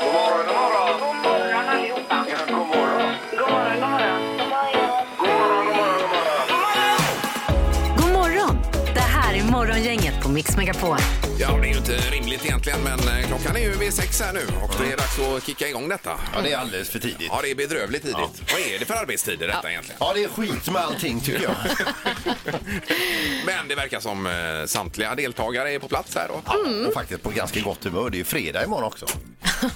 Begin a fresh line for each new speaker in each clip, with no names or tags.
God morgon, god morgon. God morgon allihopa. Ja, god morgon. God morgon, god morgon. God morgon, god morgon, god morgon.
God morgon! Det här är Morgongänget på Mix Megapol.
Ja, det är ju inte rimligt egentligen, men eh, klockan är ju vid sex här nu och det är dags att kicka igång detta.
Ja, det är alldeles för tidigt.
Ja, det är bedrövligt tidigt. Vad är det för arbetstider detta egentligen?
Ja, det är skit med allting tycker jag.
Men det verkar som eh, samtliga deltagare är på plats här då.
Och faktiskt på ganska gott humör. Det är ju fredag imorgon också. Eh,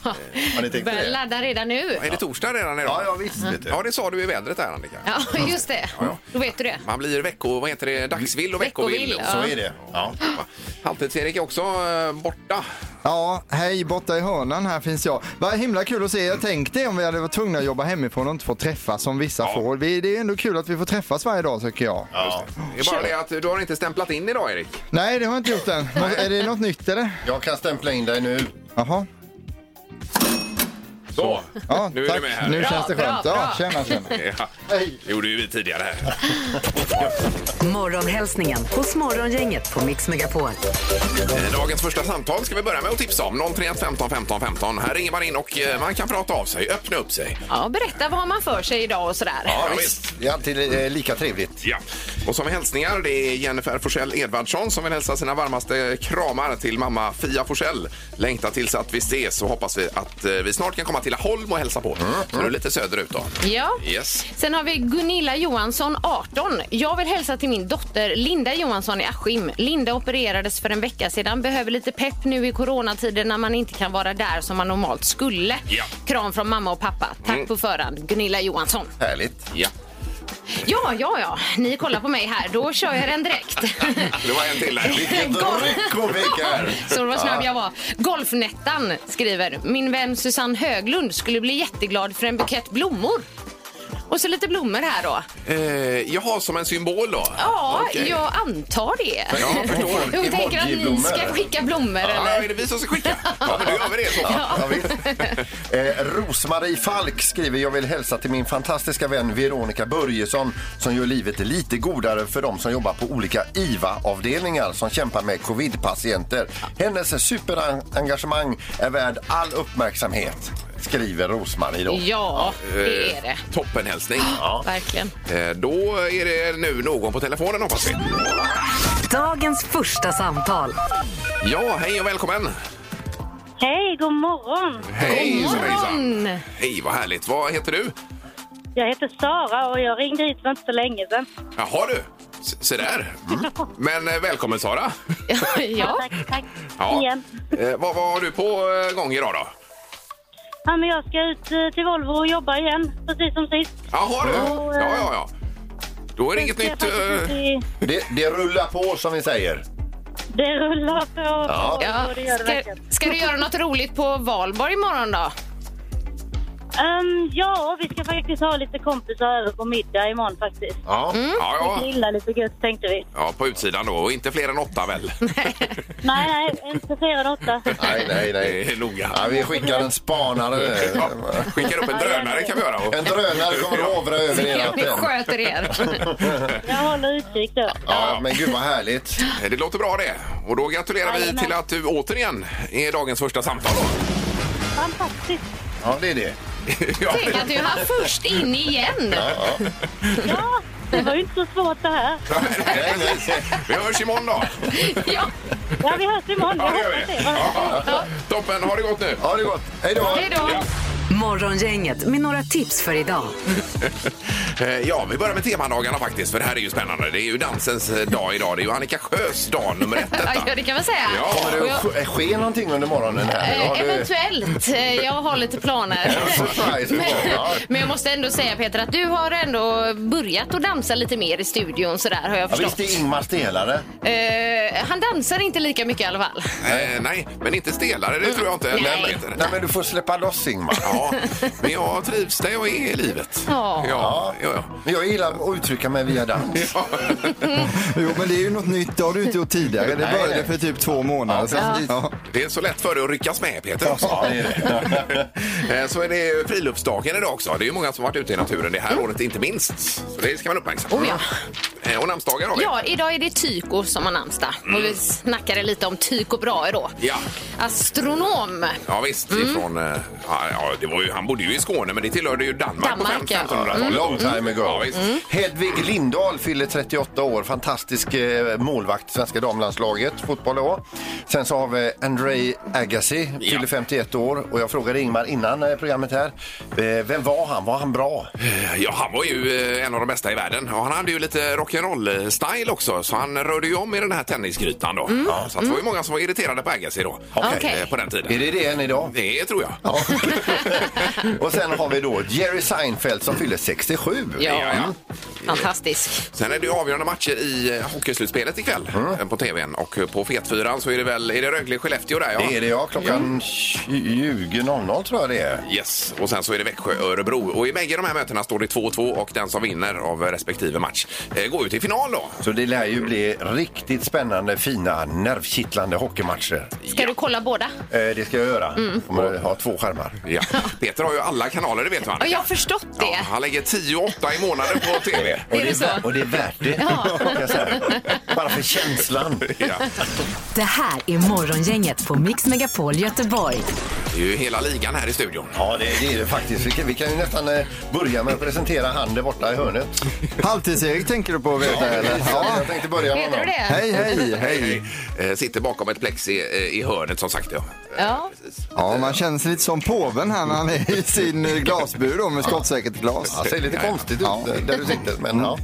Har ni tänkt på
Börjar
det?
ladda redan nu.
Är det torsdag redan idag?
Ja, ja visst. Vet du.
Ja, det sa du i vädret där Annika.
Ja, just det. Då vet du det.
Man blir vecko, vad heter det, dagsvill och veckovill.
Veckovill,
och
ja.
så
Så
vidare.
är det. Ja.
Halvtids-Erik är också eh, borta.
Ja, hej borta i hörnan här finns jag. Vad himla kul att se er. Tänk dig om vi hade varit tvungna att jobba hemifrån och inte få träffas som vissa får. Vi, det är ändå kul att vi får träffas varje dag tycker jag.
Ja.
Det är bara det att du har inte stämplat in idag Erik.
Nej, det har jag inte gjort än. Nå- Är det något nytt eller?
Jag kan stämpla in dig nu.
Jaha.
Så,
Ja,
nu är du
tack.
med här.
Nu
Bra,
känns det
bra,
skönt.
bra.
Ja, tjena, tjena.
Ja, det gjorde ju vi tidigare här.
Morgonhälsningen hos Morgongänget på Mix Megapol.
Eh, Dagens första samtal ska vi börja med att tipsa om. 031 15 15 15. Här ringer man in och eh, man kan prata av sig, öppna upp sig.
Ja, berätta vad har man för sig idag och sådär.
Ja,
Det är alltid eh, lika trevligt.
Ja. Och som hälsningar, det är Jennifer Forsell Edvardsson som vill hälsa sina varmaste kramar till mamma Fia Forsell. Längtar tills att vi ses och hoppas vi att eh, vi snart kan komma till Laholm och hälsa på. Så du är lite söderut då.
Ja.
Yes.
Sen har vi Gunilla Johansson, 18. Jag vill hälsa till min dotter Linda Johansson i Askim. Linda opererades för en vecka sedan. Behöver lite pepp nu i coronatider när man inte kan vara där som man normalt skulle.
Ja. Mm.
Kram från mamma och pappa. Tack på förhand, Gunilla Johansson.
Härligt.
Ja.
Ja, ja, ja. Ni kollar på mig här. Då kör jag den direkt.
Det var en till här.
Vilket
Golf.
ryck och väck här.
Så vad snabb jag var. Golfnettan skriver min vän Susanne Höglund skulle bli jätteglad för en bukett blommor. Och så lite blommor här då.
Eh, jaha, som en symbol då?
Ja,
Okej.
jag antar det.
Ja, jag förstår.
Jag tänker att ni
Emoji-blommor.
ska skicka blommor
Ja, är
eller?
det vi som ska skicka? Ja, men då gör vi det. Så.
Ja, visst. eh, Rosmarie Falk skriver jag vill hälsa till min fantastiska vän Veronica Börjesson som gör livet lite godare för de som jobbar på olika IVA-avdelningar som kämpar med covid-patienter. Hennes superengagemang är värd all uppmärksamhet, skriver Rosmarie då.
Ja, det är det.
Eh, Toppenhälsning.
Verkligen.
Eh, Då är det nu någon på telefonen hoppas vi.
Dagens första samtal.
Ja, hej och välkommen.
Hej, god morgon.
Hej,
God
hejsan.
morgon!
Hej, vad härligt. Vad heter du?
Jag heter Sara och jag ringde hit för inte så länge sedan.
Jaha du, S- se där. Men eh, välkommen Sara.
Ja,
Tack, tack.
Ja.
Igen.
Eh, vad, vad har du på eh, gång idag då?
Ja, men jag ska ut eh, till Volvo och jobba igen, precis som sist.
Jaha du, ja ja ja. Då är det inget
Jag
nytt.
ska faktiskt
eh,
ut i-
Det, det rullar på som vi säger.
Det rullar på. Ja.
ja.
det gör det
Ska,
verkligen.
ska du göra något roligt på valborg imorgon då?
Ehm, ja, vi ska faktiskt ha lite kompisar över på middag imorgon faktiskt.
Ja.
Ja, ja.
Grilla lite gött tänkte vi.
ja, på utsidan då och inte fler än åtta väl?
Nej, nej, inte fler än åtta.
Nej, nej,
Det är
nej.
noga.
Ja, vi skickar en spanare.
Ja, skickar upp en
Ja, gör
drönare
det.
kan vi göra. Och,
En drönare kommer att hovra över er
Ja, ni
natten.
sköter er.
Jag håller utkik då.
Ja, men gud vad härligt.
Eh, Det låter bra det. Och då gratulerar vi
Jajamän.
till att du återigen är dagens första samtal.
Fantastiskt.
Ja, det är det.
Ja,
Tänk att du hann först in igen.
Ja, det var ju inte så svårt det här.
Nej, nej.
vi hörs imorgon då.
Ja.
Ja, vi hörs imorgon.
Ja,
Jag
det gör vi.
hoppas det.
Ja, ja. Toppen, ha det gott nu.
Ha det gott. Hej då.
Hej då!
Morgongänget med några tips för idag.
Eh, Ja, vi börjar med temadagarna faktiskt, för det här är ju spännande. Det är ju dansens eh, dag idag. Det är ju Annika Sjös dag nummer ett
Ja,
detta.
det kan man säga.
Ja,
Kommer
Och
det
jag-
att ske- ske någonting under morgonen här?
Eh,
Har du-
Eventuellt. Eh, Jag har lite planer.
Surprise. Ja.
Men jag måste ändå säga Peter att du har ändå börjat att dansa lite mer i studion sådär har jag
Ja,
förstått.
visst är Ingmar stelare?
Eh, han dansar inte lika mycket i alla fall.
Eh, Nej, men inte stelare, det tror jag inte.
Nej.
Peter.
Nej, men du får släppa loss Ingmar.
Ja, men jag trivs där jag är i livet.
Ja.
Ja, gör jag.
Men jag gillar att uttrycka mig via dans.
Ja.
Jo, men det är ju något nytt. Det har du inte gjort tidigare. Det
Nej, nej.
började för typ två månader sedan. Ja.
Det är så lätt för dig att ryckas med, Peter. Också. Eh, så är det ju friluftsdagen idag också. Det är ju många som varit ute i naturen det här året, inte minst. Så det ska man uppmärksamma.
Mm. Oh, ja.
Eh, Och namnsdagar har vi.
Ja, idag är det Tycho som har namnsdag. Och
Mm.
vi snackade lite om Tycho Brahe då.
Ja.
Astronom.
Ja, visst,
Mm.
ifrån, eh, ja, ja, det var ju, han bodde ju i Skåne, men det tillhörde ju Danmark,
Danmark,
på
ja.
1500-talet.
Mm. Long time ago.
Ja, visst.
Mm. Hedvig Lindahl fyller 38 år. Fantastisk eh, målvakt i svenska damlandslaget, fotboll då. Sen så har vi Andrei Agassi, fyller 51 år. Och jag frågade Ingmar innan eh, programmet här. Eh, vem var han? Var han bra?
Ja, han var ju eh, en av de bästa i världen. Och han hade ju lite rock'n'roll-style också, så han rörde ju om i den här tennisgrytan då. Ja, så att det var ju många som var irriterade på Agassi då,
Okej.
eh, på den
Är
tiden.
det det än idag?
Det tror jag.
och sen har vi då Jerry Seinfeld som fyller 67.
Ja.
Ja, ja.
Fantastisk.
Sen är det ju avgörande matcher i eh, hockeyslutspelet ikväll mm. på tvn. Och eh, på Fetfyran så är det väl är det Rögle-Skellefteå där, ja.
Det är det ja, klockan 20.00 tror jag det är.
Yes, och sen så är det Växjö-Örebro. Och i bägge de här mötena står det 2-2 och den som vinner av respektive match eh, går ut i final då.
Så det lär ju bli riktigt spännande, fina, nervkittlande hockeymatcher.
Ska du kolla båda?
Eh, det ska jag göra.
Mm.
Kommer att ha två skärmar.
Ja. Peter har ju alla kanaler, det vet du
Ja,
Annika.
jag har förstått
Ja,
det.
han lägger 10 och 8 i månaden på tv.
Och
Är det
är,
så?
vä- och det är värt det. kan jag säga. Bara för känslan.
Ja,
Det här är Morgongänget på Mix Megapol Göteborg.
det är ju hela ligan här i studion.
Ja, det, det är det faktiskt. Vi kan, vi kan ju nästan eh, börja med att presentera han där borta i hörnet.
Halvtids-Erik tänker du på att veta eller?
Ja, jag tänkte börja med
Heter du
honom.
det?
Hej, hej, hej.
Eh, Sitter bakom ett plexi eh, i hörnet som sagt. Ja.
Ja.
Ja, man känner sig lite som påven här när han är i sin eh, glasbur då med skottsäkert glas.
Ja, ser lite konstigt ut där- där du sitter. Men, ja.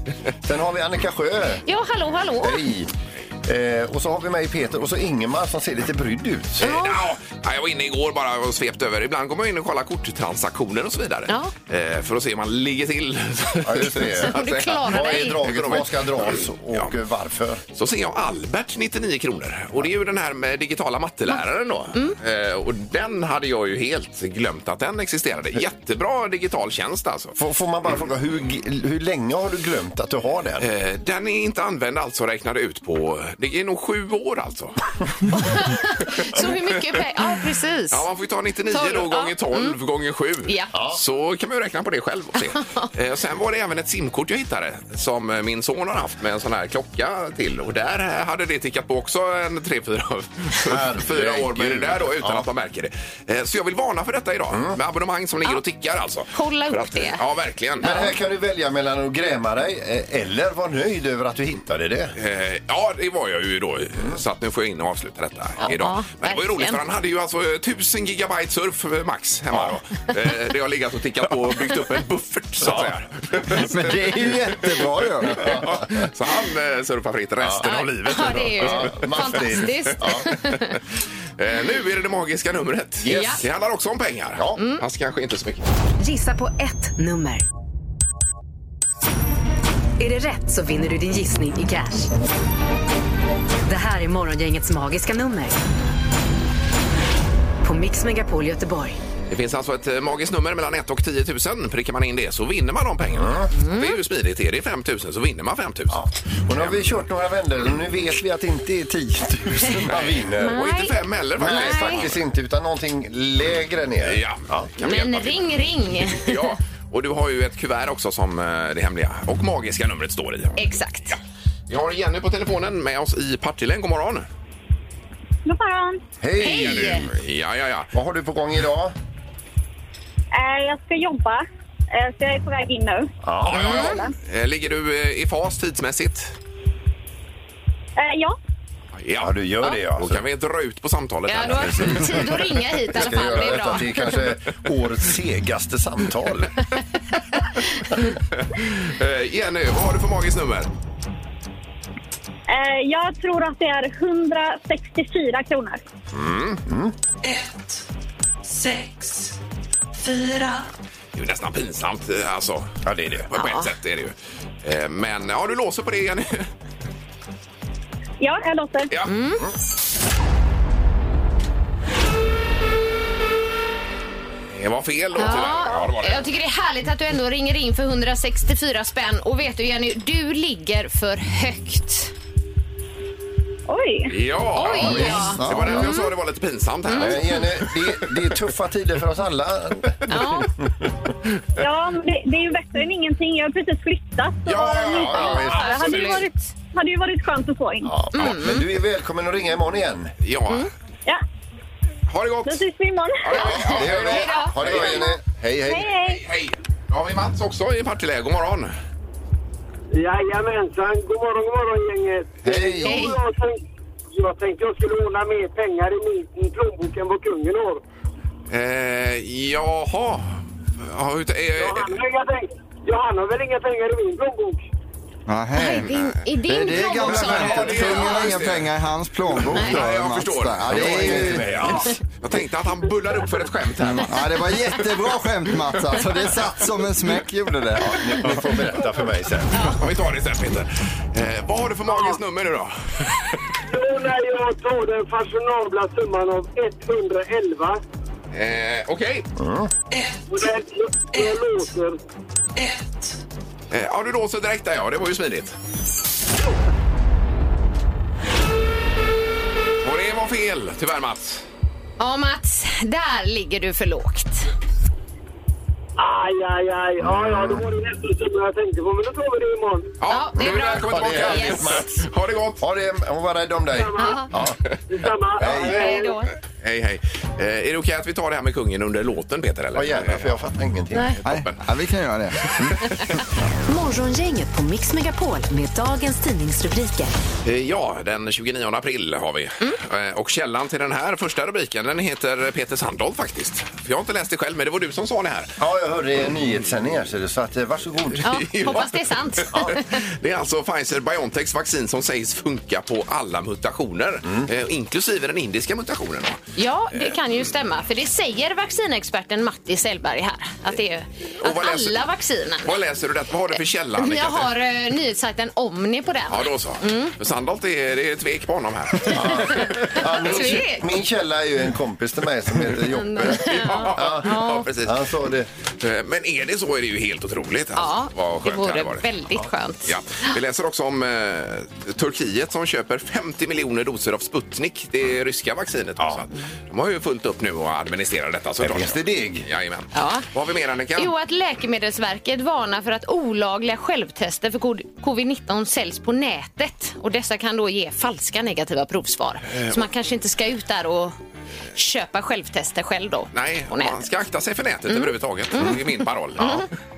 Sen har vi Annika Sjö.
ja, hallå, hallå.
Hej! Eh, och så har vi mig Peter och så Ingemar som ser lite brydd ut.
Eh, ja, Jag var inne igår bara och svept över. Ibland går man in och kollar korttransaktioner och så vidare.
Ja.
Eh, För att se hur man ligger till.
Ja, just det.
Om du klarar
Vad är
dig.
draget, vad ska dras och
Ja.
eh, varför?
Så ser jag Albert, 99 kronor. Och det är ju den här med digitala matteläraren då. Eh, och den hade jag ju helt glömt att den existerade. Jättebra digital tjänst alltså.
Får, får man bara fråga, hur, g- hur länge har du glömt att du har den?
Eh, Den är inte använd alltså räknade ut på, det är nog sju år alltså.
Så hur mycket pengar? Ja, precis.
Ja, man får ju ta 99
Tolv,
då
ja. Mm.
gånger 12 gånger 7.
Ja. Ja.
Så kan man ju räkna på det själv och se. eh, sen var det även ett simkort jag hittade som eh, min son har haft med en sån här klocka till. Och där eh, hade det tickat på också en 3-4 fyra år med det där då utan att man märker det. Eh, så jag vill varna för detta idag med abonnemang som ligger och tickar alltså.
Kolla
För
upp
eh,
det.
Ja, verkligen.
Men här kan du välja mellan att gräma dig eh, eller vara nöjd över att du hittade det.
Eh, Ja, det var jag ju då. Så att nu får jag in och avsluta detta
Ja,
idag. Men det var ju roligt
verkligen.
för han hade ju alltså eh, 1000 gigabyte surf eh, max hemma då. Eh, Det har legat och tickat på och byggt upp en buffert så att säga.
Men det är ju jättebra ju.
Ja, Så han eh, surfar fritt resten
Ja.
av livet.
Ja, det är ju
massor.
fantastiskt.
Eh, Nu är det det magiska numret.
Yes. Ja.
Det handlar också om pengar. Ja. Fast kanske inte så mycket.
Gissa på ett nummer. Är det rätt så vinner du din gissning i cash. Det här är Morgongängets magiska nummer. På Mix Megapol Göteborg.
Det finns alltså ett eh, magiskt nummer mellan 1 och 10 000. Prickar man in det så vinner man de pengarna. Det är ju smidigt. Är det 5 000 så vinner man 5 000.
Och nu har vi kört några vändor och nu vet vi att det inte är 10 000 man vinner.
Och inte fem heller
Nej,
faktiskt.
faktiskt inte, utan någonting lägre ner.
Ja, kan vi hjälpa
Men
till?
ring, ring.
Ja, och du har ju ett kuvert också som eh, det hemliga och magiska numret står i.
Exakt.
Vi har Jenny på telefonen med oss i Partille. God morgon!
God morgon.
Hej!
Hej!
Ja, ja, ja.
Vad har du på gång idag?
Eh, jag ska jobba, eh, så jag är på väg in nu.
ja, ja, ja. Eh, Ligger du eh, i fas tidsmässigt?
Eh, ja.
Ja, du gör det ja.
Då
Så
kan vi dra ut på samtalet.
Ja,
här.
du har tid att ringa hit i alla
ska jag
fall. Det
göra
är
detta
bra.
till kanske årets segaste samtal.
Eh, Jenny, vad har du för magiskt nummer?
Eh, jag tror att det är 164 kronor.
Det är ju nästan pinsamt eh, alltså.
Ja, det är det.
På ett sätt är det ju. Eh, Men ja, du låser på det Jenny.
Ja, jag låter.
Ja. Det var fel då tyvärr. Ja, det var
Ja,
det.
jag tycker det är härligt att du ändå ringer in för 164 spänn. Och vet du Jenny, du ligger för högt.
Oj!
Ja,
Oj,
ja,
ja.
visst. Det var därför jag sa det var lite pinsamt här.
Eh, Jenny, det, det är tuffa tider för oss alla.
Ja,
Ja, men det, det är ju bättre än ingenting. Jag har precis flyttat. Så
Ja, ja, ja, ja,
det
visst.
hade, ju
absolut.
varit, hade ju varit skönt att få in.
Ja, ja, men du är välkommen att ringa imorgon igen.
Ja,
Ja,
ha det gott!
då ses vi imorgon.
Ja, ja, ja,
Det gör vi.
Hej då.
Ha det bra, Jenny. Hej,
Hej,
hej.
hej!
Hej! Då har vi Mats också i Partille. God morgon!
Jajamensan, god morgon, god morgon gänget.
Hej!
Hej.
Jag tänkte, jag tänkte jag skulle ordna mer pengar i min i plånbok än vad kungen har.
Eh, jaha... Ja, hur, eh,
Ja,
eh,
han har inga pengar. Ja, han har väl inga pengar i min plånbok.
Nähä.
din, i
Det är
din
det
plånbok
gamla
sa du.
Ja, det
mönstret.
är-
Kungen
ja,
har
just
inga
det.
pengar i hans plånbok. då,
Nej, jag
Mats,
förstår.
där. Ja, det, är ju...
ja. Jag tänkte att han bullar upp för ett skämt här. Mats.
ja, det var jättebra skämt Mats. Alltså, det satt som en smäck gjorde det.
Ni får berätta för mig sen.
Ja, vi tar det sen, Peter. Eh, vad har du för magiskt nummer nu då?
Då när jag tar den fashionabla summan av 111
Eh, Okej.
och den, jag låter...
Eh, ja, du låser direkt där, ja. Det var ju smidigt. Och det var fel, tyvärr, Mats.
Ja Mats, där ligger du för lågt.
Aj, aj, aj. Ja, ja, det var det nästa summa jag tänkte på. Men då tar vi det imorgon.
Ja, det är
du
bra.
Välkommen
Ha det
tillbaka.
härligt, Mats.
Ha det gott.
Ha det, och var rädd om dig. Ja.
Detsamma.
Hej då.
Hej, hej. Eh, är det okej att vi tar det här med kungen under låten, Peter? Eller?
Ja, gärna, för jag fattar ingenting.
Nej.
Nej, ja, vi kan göra det.
Morgongänget på Mix Megapol med dagens tidningsrubriker.
Eh, Ja, den 29 april har vi. Eh, Och källan till den här första rubriken den heter Peter Sandholt faktiskt. För jag har inte läst det själv, men det var du som sa det här.
Ja, jag hörde i nyhetssändningar, så, det, så att, eh, varsågod.
Ja, hoppas det är sant.
Ja. Det är alltså Pfizer-Biontechs vaccin som sägs funka på alla mutationer,
Mm.
eh, inklusive den indiska mutationen. va?
Ja, det kan ju stämma. För det säger vaccinexperten Matti Sellberg här. Att, det är, att
vad läser-
alla vaccinen.
Vad läser du detta? Vad har du för källa?
Jag
Annika?
har Mm. eh, nyhetssajten Omni på den.
Ja, då så. För Sandholt, är, det är tvek på honom här.
Ja, min,
Trevligt.
min källa är ju en kompis till mig som heter Joppe.
ja, ja, precis.
Han sa det.
Eh, Men är det så är det ju helt otroligt.
Ja,
Alltså, Vad
det
skönt hade
vore
varit.
väldigt skönt.
Ja. Vi läser också om eh, Turkiet som köper 50 miljoner doser av Sputnik, det ryska vaccinet. Ja. De har ju fullt upp nu och administrerar detta. Så det
finns det deg.
Jajamän.
Ja.
Vad har vi mer Annika?
Jo, att Läkemedelsverket varnar för att olagliga självtester för covid-19 säljs på nätet. Och Dessa kan då ge falska negativa provsvar.
Eh,
Så man kanske inte ska ut där och köpa självtester själv då.
Nej,
på nätet. Mm.
man ska akta sig för nätet överhuvudtaget. Det är min paroll.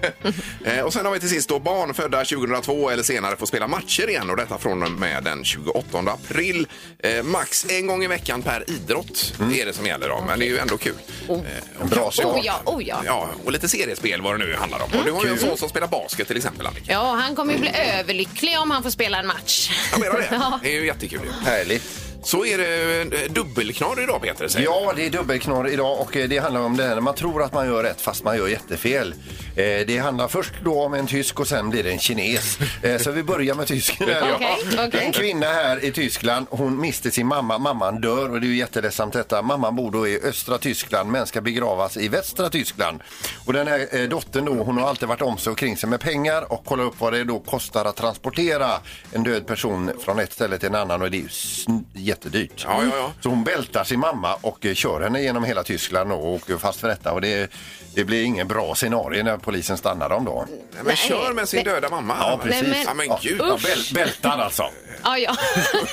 Eh, och sen har vi till sist då barn födda 2002 eller senare får spela matcher igen och detta från och med den 28 april. Eh, max en gång i veckan per idrott
Mm.
är det som gäller då, men det är ju ändå kul. Eh,
Oh.
En bra
Oh
start.
ja, oh ja.
Ja, och lite seriespel vad det nu handlar om. Och du har ju en son som spelar basket till exempel Annika.
Ja, han kommer ju bli överlycklig om han får spela en match.
Jag menar det.
Ja.
Det är ju jättekul. ju.
Härligt.
Så är det eh, dubbelknorr idag Peter säger
Ja, det är dubbelknorr idag och eh, det handlar om det här när man tror att man gör rätt fast man gör jättefel. Eh, Det handlar först då om en tysk och sen blir det en kines. Eh, Så vi börjar med tysken. här.
Okej,
Ja.
okej.
En kvinna här i Tyskland, hon miste sin mamma. Mamman dör och det är ju jätteledsamt detta. Mamman bor då i östra Tyskland men ska begravas i västra Tyskland. Och den här eh, dottern då, hon har alltid varit om sig och kring sig med pengar och kollar upp vad det då kostar att transportera en död person från ett ställe till en annan och det är ju sn- jättedyrt.
Ja, ja, ja.
Så hon bältar sin mamma och eh, kör henne genom hela Tyskland och åker fast för detta. Och det, det blir ingen bra scenario när polisen stannar dem då.
Nej, men kör med sin
Nej.
döda mamma.
Ja, precis.
Nej, men-
Ja, men gud.
Ja,
Ja,
bäl- bältar alltså.
Ja, ja.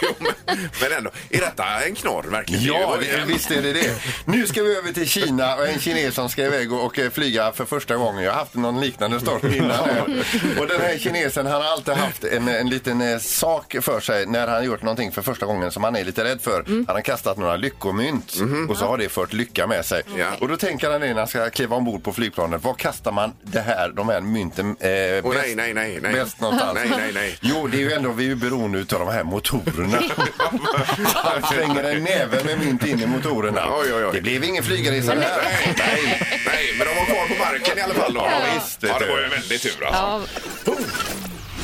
Jo, men, men ändå, är detta en knorr verkligen?
Ja,
Det är ju-
det, visst är det det. Nu ska vi över till Kina och en kines som ska iväg och, och eh, flyga för första gången. Jag har haft någon liknande start innan. här. Och den här kinesen han har alltid haft en, en liten eh, sak för sig när han gjort någonting för första gången som han är lite rädd för.
Mm.
Han har kastat några lyckomynt och så har det fört lycka med sig.
Mhm. Ja.
Och då tänker han när han ska kliva ombord på flygplanet, var kastar man det här, de här mynten eh, bäst,
Åh, nej, nej, nej, nej.
bäst någonstans?
Nej, nej, nej.
Jo, det är ju ändå, vi är ju beroende utav de här motorerna. Han slänger en näve med mynt in i motorerna.
Oj, oj, oj.
Det blev ingen flygresa här.
Nej, nej, nej, men de var kvar på marken i alla fall. Då.
Ja, visst,
ja, det
vet
var
du.
ju en väldig tur. Alltså.
ja.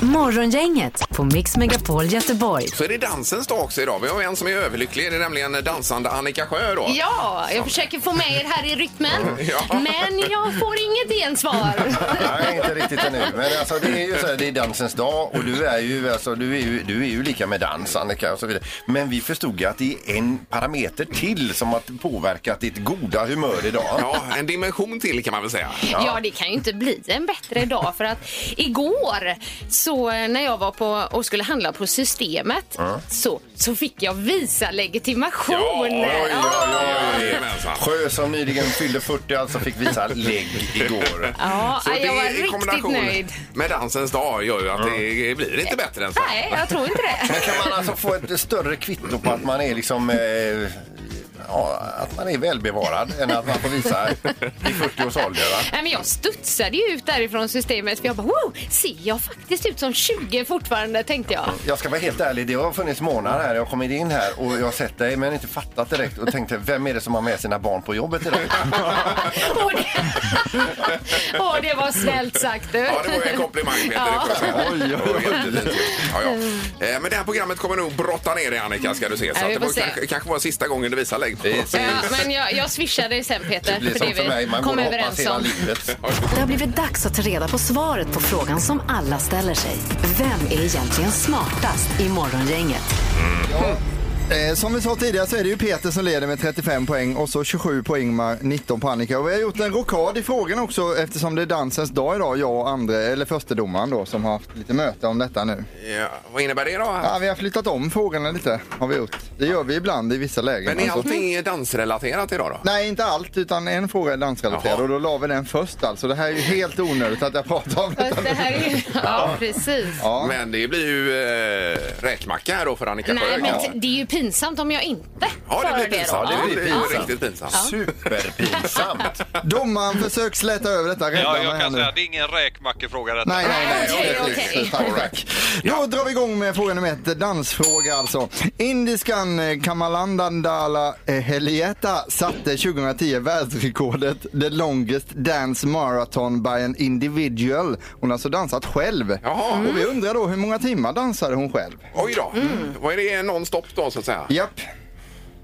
Morgongänget på Mix Megapol Göteborg.
Så är det dansens dag också idag. Vi har en som är överlycklig. Det är nämligen dansande Annika Sjö då.
Ja, jag försöker få med er här i rytmen.
Ja.
Men jag får inget gensvar.
Nej, inte riktigt ännu. Men alltså, det är ju så här, det är dansens dag och du är ju, alltså, du är ju, du är ju lika med dans, Annika och så vidare. Men vi förstod ju att det är en parameter till som har påverkat ditt goda humör idag.
Ja, en dimension till kan man väl säga.
Ja. det kan ju inte bli en bättre dag för att igår så eh, när jag var på och skulle handla på Systemet så, så fick jag visa legitimation.
Jajamensan.
Sjö som nyligen fyllde 40 alltså fick visa lägg igår.
Ja,
Så det
jag var
i
riktigt
kombination
nöjd.
Med dansens dag gör ju att det blir inte bättre än så.
Nej, jag tror inte
Men
det.
kan man alltså få ett större kvitto på att man är liksom eh, Ja, att man är välbevarad än att man får visa i 40 års ålder. Va?
Nej, men jag studsade ju ut därifrån systemet för jag bara wow, ser jag faktiskt ut som 20 fortfarande tänkte jag.
Jag ska vara helt ärlig, det har funnits månader här. Jag har kommit in här och jag har sett dig men inte fattat direkt och tänkte vem är det som har med sina barn på jobbet idag?
Åh, det... Åh, det var snällt sagt du.
Ja, det var ju en komplimang Peter.
Ja. Mm.
Det får jag säga. Det var jättefint. Ja, ja. Eh, Men det här programmet kommer nog brotta ner dig Annika ska du se. Så
Ja, vi
att det
får
var
se.
kanske, kanske var sista gången du visar lägg.
Precis.
Ja, men jag, jag swishar dig sen Peter.
Det blir som för mig, man går och hoppas hela livet.
Det har blivit dags att ta reda på svaret på frågan som alla ställer sig. Vem är egentligen smartast i Morgongänget?
Eh, som vi sa tidigare så är det ju Peter som leder med 35 poäng och så 27 på Ingmar, 19 på Annika. Och vi har gjort en rokad i frågan också eftersom det är dansens dag idag, jag och andra, eller förstedomaren då som har haft lite möte om detta nu.
Ja, vad innebär det då?
Ja, vi har flyttat om frågorna lite, har vi gjort. Det gör vi ibland i vissa lägen.
Men är
alltså.
allting dansrelaterat idag då?
Nej, inte allt, utan en fråga är dansrelaterad
Jaha.
och då la vi den först alltså. Det här är ju helt onödigt att jag pratar om
Fast
detta.
det här är ju... Ja, precis.
Ja.
Men det blir ju eh, räkmacka här då för Annika Sjö.
Nej, men
kanske.
t- det är ju pinsamt om jag inte
Ja, det
klarar
blir pinsamt.
då.
Ja, det blir
ju
pinsamt.
riktigt pinsamt.
Superpinsamt!
Domaren, försök släta över detta. Rädda
Ja,
mig
jag
här
kan
nu.
säga det är ingen räkmackefråga detta.
Nej, nej, nej.
Okej,
det är
okej.
precis. Tack, tack. Då drar vi igång med fråga nummer ett. Dansfråga alltså. Indiskan eh, Kamalandandala eh, Helieta satte 2010 världsrekordet The Longest Dance Marathon by an Individual. Hon har alltså dansat själv.
Jaha.
Och vi undrar då hur många timmar dansade hon själv?
Oj då.
Mm.
Vad är det nonstop då så att säga?
Japp.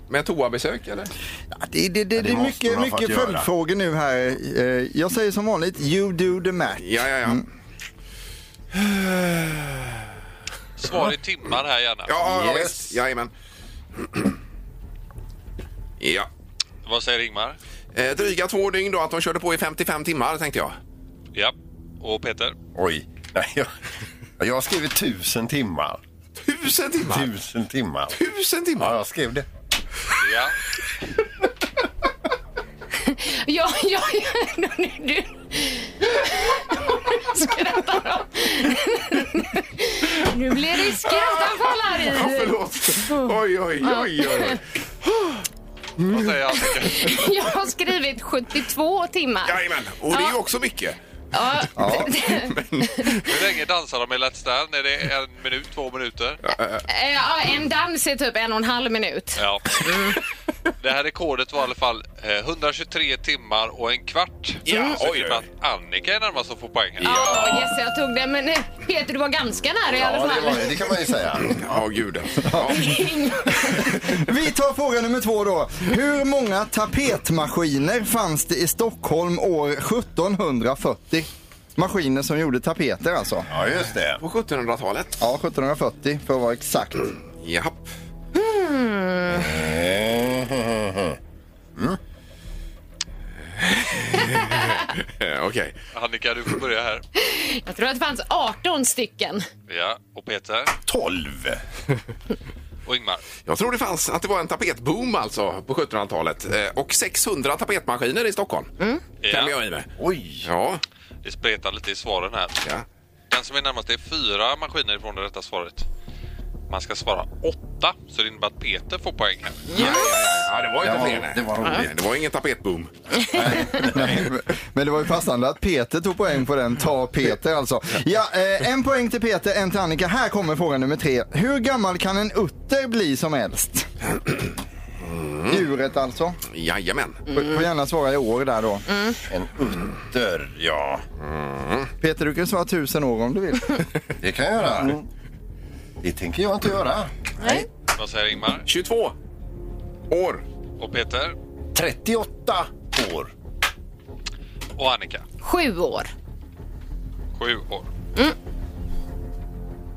Med toabesök eller?
Ja, Det, det, det, det är
måste
mycket,
hon ha fått
mycket
göra.
följdfrågor nu här. Eh, Jag säger som vanligt, you do the math.
Ja, ja, ja.
Mm.
Svar i timmar här gärna.
Ja, ja
Yes.
visst. Jajamän. ja.
Vad säger Ingmar?
Eh, dryga två dygn då, att de körde på i 55 timmar tänkte jag.
Ja. Och Peter?
Oj. Nej, jag, jag har skrivit tusen timmar.
Tusen timmar!
Tusen timmar.
Tusen timmar!
Ja, jag skrev det.
Ja.
Ja, ja, ja. Nu, du. Skrattar de? Nu blir det skrattanfall här i.
Förlåt! Oj, oj, oj, oj.
Vad säger Annika?
Jag har skrivit 72 timmar.
Jajamän, och det är ju också mycket.
Hur länge dansar de i Let's Dance? Är det en minut, två minuter?
Eh, Ja, en dans är typ en och en halv minut.
Ja. Det här rekordet var i alla fall eh, 123 timmar och en kvart.
Mm. Ja,
Så
oj,
i och med att Annika är närmast som får poäng här.
Ja, yes, jag tog det. Men eh, Peter, du var ganska nära i alla
Ja, det,
fall.
var, det kan man ju säga.
Ja, gud. Ja.
Vi tar fråga nummer två då. Hur många tapetmaskiner fanns det i Stockholm år 1740? Maskiner som gjorde tapeter alltså.
Ja, just det.
På 1700-talet.
Ja, 1740 för att vara exakt.
Japp. Mm. Eh, Okej.
Annika, du får börja här.
Jag tror att det fanns 18 stycken.
Ja. Och Peter?
12.
Och Ingmar?
Jag tror det fanns att det var en tapetboom alltså på 1700-talet eh, och 600 tapetmaskiner i Stockholm. Kan
Ja.
jag i mig.
Oj.
Ja.
Det spretar lite i svaren här.
ja.
Den som är närmast är fyra maskiner ifrån det rätta svaret. Man ska svara åtta, så det innebär att Peter får poäng här.
Ja, det var ju
Det var-
inte fler. nej.
det var roligt.
Nej, Det var ingen tapetboom.
Nej, men det var ju passande att Peter tog poäng på den. Ta Peter alltså. Ja, eh, en poäng till Peter, en till Annika. Här kommer fråga nummer tre. Hur gammal kan en utter bli som äldst? Djuret alltså.
Jajamän.
Får får gärna svara i år där då.
En utter, ja.
Peter, du kan svara tusen år om du vill.
Det kan jag göra. Det tänker jag inte göra.
Nej. Vad säger Ingmar?
22 år.
Och Peter?
38 år.
Och Annika?
Sju år.
Sju år.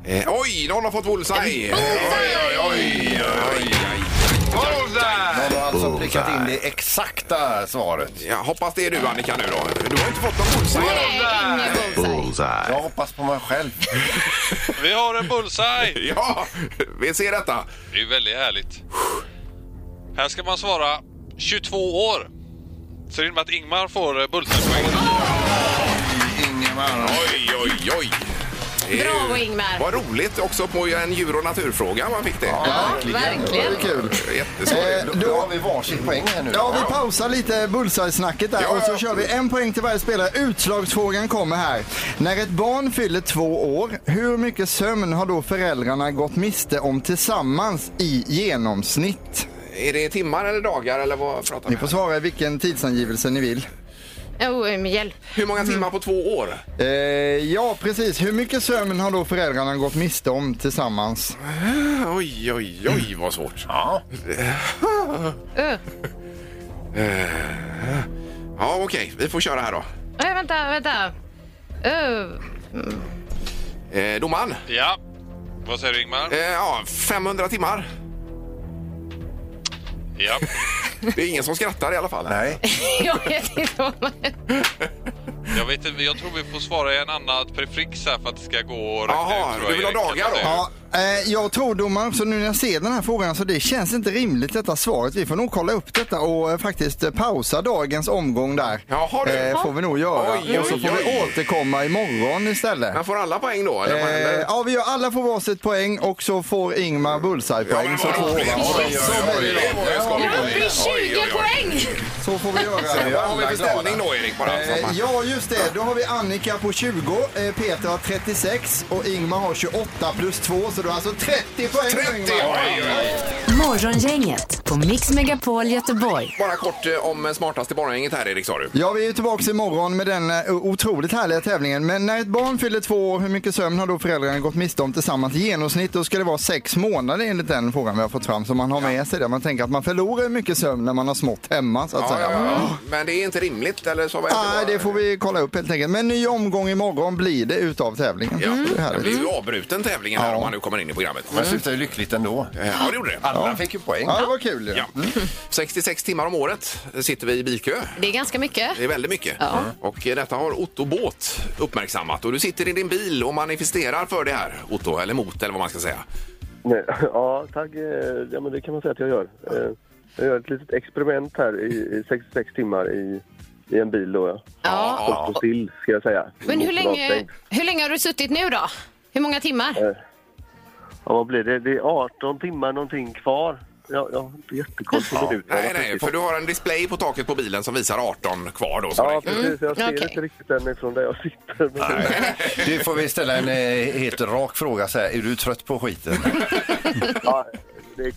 Eh, oj, någon har fått bullseye!
Bullseye! De har alltså prickat in det exakta svaret.
Ja, hoppas det är du Annika nu då. Du har inte fått någon bullseye.
Oh.
Jag hoppas på mig själv.
Vi har en bullseye!
Ja, vi ser detta.
Det är ju väldigt härligt. Här ska man svara 22 år. Så det innebär att Ingmar får eh, bullseye-poängen.
Ingemar.
Oj, oj, oj. Det är ju-
Bravo Ingmar!
Eh, Vad roligt också på en djur och naturfråga man fick det.
Ja, verkligen.
Kul. Eh,
Jätteskoj.
Då, då har vi varsitt poäng här nu.
Ja, vi pausar lite bullseye-snacket där
Ja,
och så
ja.
kör vi en poäng till varje spelare. Utslagsfrågan kommer här. När ett barn fyller två år, hur mycket sömn har då föräldrarna gått miste om tillsammans i genomsnitt?
Är det timmar eller dagar eller vad pratar vi
Ni
om?
får svara i vilken tidsangivelse ni vill.
Oh, med hjälp.
Hur många timmar på två år?
Eh, ja, precis. Hur mycket sömn har då föräldrarna gått miste om tillsammans?
Oj, oj, oj vad svårt.
Ja.
Ö.
Ja, okej. Vi får köra här då.
Ö, vänta, vänta. Oh. Ö.
Eh, domaren?
Ja. Vad säger du Ingmar?
Eh, ja, 500 timmar.
Ja.
Det är ingen som skrattar i alla fall.
Nej.
Jag vet inte vad man...
Jag, vet, inte, jag tror vi får svara i en annan prefix här för att det ska gå att räkna
Jaha,
ut. tror
du
jag,
vill ha
Erik, kan
dagar
man
då?
säga.
Ja, eh, jag tror domaren, så nu när jag ser den här frågan så det känns inte rimligt detta svaret. Vi får nog kolla upp detta och eh, faktiskt eh, pausa dagens omgång där. Eh,
Jaha, du.
får vi nog göra.
Oj, oj,
och så får vi
oj.
återkomma imorgon istället.
Han får alla poäng då? Eller? vad
Eh,
händer?
ja, vi gör alla får varsitt poäng och så får Ingmar bullseye-poäng.
men
så,
vad
får-
roligt. Så blir det.
Jag är uppe i 20 poäng!
så får vi
Så
göra.
jag-
Vad har vi för ställning då, Erik? Bara, så att
Eh,
man-
Ja, just det. Då har vi Annika på 20, eh, Peter har 36 och Ingmar har 28 plus 2. Så du har alltså 30 poäng.
30! Oj,
Ingmar.
oj, oj.
Morgongänget på Mix Megapol Göteborg.
Bara kort eh, om smartaste morgongänget här, Erik, sa du.
Ja, vi är ju tillbaka imorgon med den eh, otroligt härliga tävlingen. Men när ett barn fyller två år, hur mycket sömn har då föräldrarna gått miste om tillsammans? I genomsnitt då ska det vara sex månader enligt den frågan vi har fått fram. Så man har med sig det. Man tänker att man förlorar mycket sömn när man har smått hemma så att
Ja,
säga.
ja, ja. Men det är inte rimligt, eller så? vad heter
Nej, det får vi kolla upp helt enkelt. Men ny omgång imorgon blir det utav tävlingen.
Ja,
Det är
det
härligt.
blir ju avbruten tävlingen här
Mm. Ja.
om man nu kommer in i programmet.
Men det slutar ju lyckligt ändå.
Ja, det gjorde det.
Alla fick ju poäng.
Ja, det var kul ju.
Ja. 66 timmar om året sitter vi i bilkö.
Det är ganska mycket.
Det är väldigt mycket.
Ja.
Och eh, detta har Otto Båt uppmärksammat. Och du sitter i din bil och manifesterar för det här, Otto, eller mot, eller vad man ska säga.
Nej, ja, tack. eh, Ja, men det kan man säga att jag gör. Eh, Jag gör ett litet experiment här i, i 66 timmar i, i en bil. Då, ja.
Ja.
Och stå still, ska jag säga.
Men hur
Motorn
länge,
avstängd.
hur länge har du suttit nu då? Hur många timmar?
Ja, vad blir det? Det är 18 timmar någonting kvar. Jag, jag har inte jättekoll på minuterna.
Nej, nej, för du har en display på taket på bilen som visar 18 kvar då. Så
Ja,
räcker.
precis. Jag ser
Mm, okej.
inte riktigt den ifrån där jag sitter. Men
Du får vi ställa en eh, helt rak fråga så här. Är du trött på skiten?
ja, det är,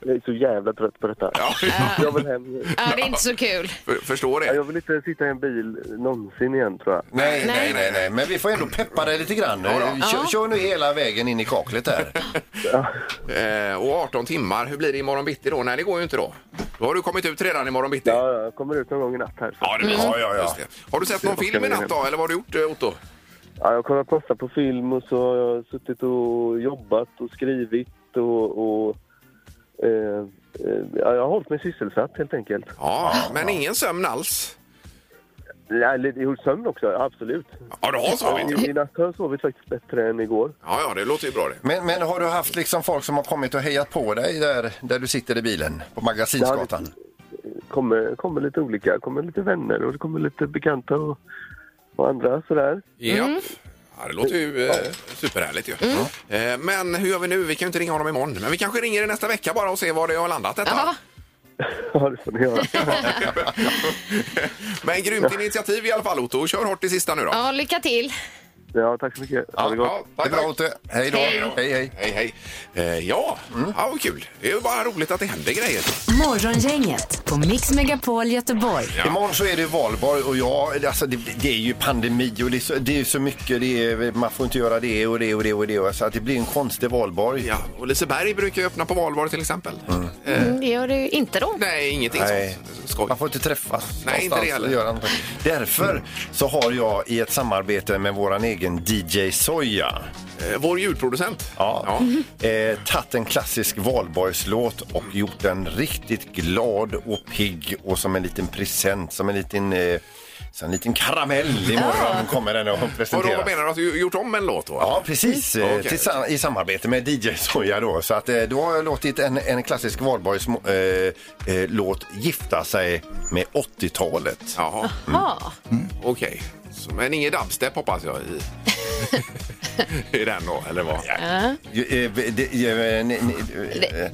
jag är så jävla trött på detta.
Ja,
Jag vill hem.
Ja, det är inte så kul.
för- förstår
Ja,
det.
Jag vill inte sitta i en bil någonsin igen, tror jag.
Nej, nej, nej, nej. Men vi får ändå peppa dig lite grann. Eh, Kör, kör nu hela vägen in i kaklet där.
Eh, och 18 timmar, hur blir det imorgon bitti då? Nej, det går ju inte då. Då har du kommit ut redan imorgon bitti.
Ja, jag kommer ut någon gång i natt här.
Ja, det blir så.
Ja, ja, ja.
Just det. Har du sett någon film i natt då, eller vad har du gjort, eh, Otto?
Ja, jag har kollat massa på film och så har jag suttit och jobbat och skrivit och... och eh, eh, ja, jag har hållit mig sysselsatt helt enkelt.
Ja, men ingen sömn alls.
Nej, lite- jo, sömn också, absolut.
Ja, du har sovit. ja.
I, I natt har jag sovit faktiskt bättre än igår.
Ja, ja, det låter ju bra det.
Men, men har du haft liksom folk som har kommit och hejat på dig där, där du sitter i bilen? På Magasinsgatan?
Kommer, kommer lite olika, kommer lite vänner och det kommer lite bekanta och, och andra sådär.
Ja. Ja, det låter ju eh, superhärligt ju. Eh, men hur gör vi nu? Vi kan ju inte ringa honom imorgon. Men vi kanske ringer i nästa vecka bara och ser var det har landat detta.
Ja.
Ja, det får ni göra.
men grymt initiativ i alla fall Otto. Kör hårt i sista nu då.
ja, lycka till.
Ja, tack så mycket.
Ja, ja,
det är bra Otte. Hej då.
Hej,
Hej, hej.
hej, hej. Eh, ja, ja, vad kul. Det är ju bara roligt att det händer grejer.
Morgongänget på Mix Megapol Göteborg.
Imorgon så är det valborg och jag, alltså det, det är ju pandemi och det är så, det är så mycket, det är, man får inte göra det och det och det och det. Så att det blir en konstig valborg.
Ja, och Liseberg brukar ju öppna på valborg till exempel.
Mm, det gör du inte då.
Nej, ingenting
Nej,
sånt. Skoj.
man får inte träffas
Nej, inte det
någonstans
heller.
och göra någonting. Därför så har jag i ett samarbete med våran egen DJ Soja.
Eh, Vår ljudproducent.
Ja. Eh, Tagit en klassisk valborgslåt och gjort den riktigt glad och pigg och som en liten present, som en liten, eh, som en liten karamell imorgon kommer den att
Och då,
presenteras.
vad menar du? Att du gjort om en låt då?
Ja, precis. Eh,
Okej.
tillsamm- I samarbete med DJ Soja då. Så att, eh, då har jag låtit en, en klassisk valborgslåt eh, eh, låt gifta sig med 80-talet.
Jaha,
Ja.
okej. Så- Men ingen dubstep hoppas jag i, i den då, eller vad?
Ju- eh, det- ju- eh, ni- ni- eh, eh.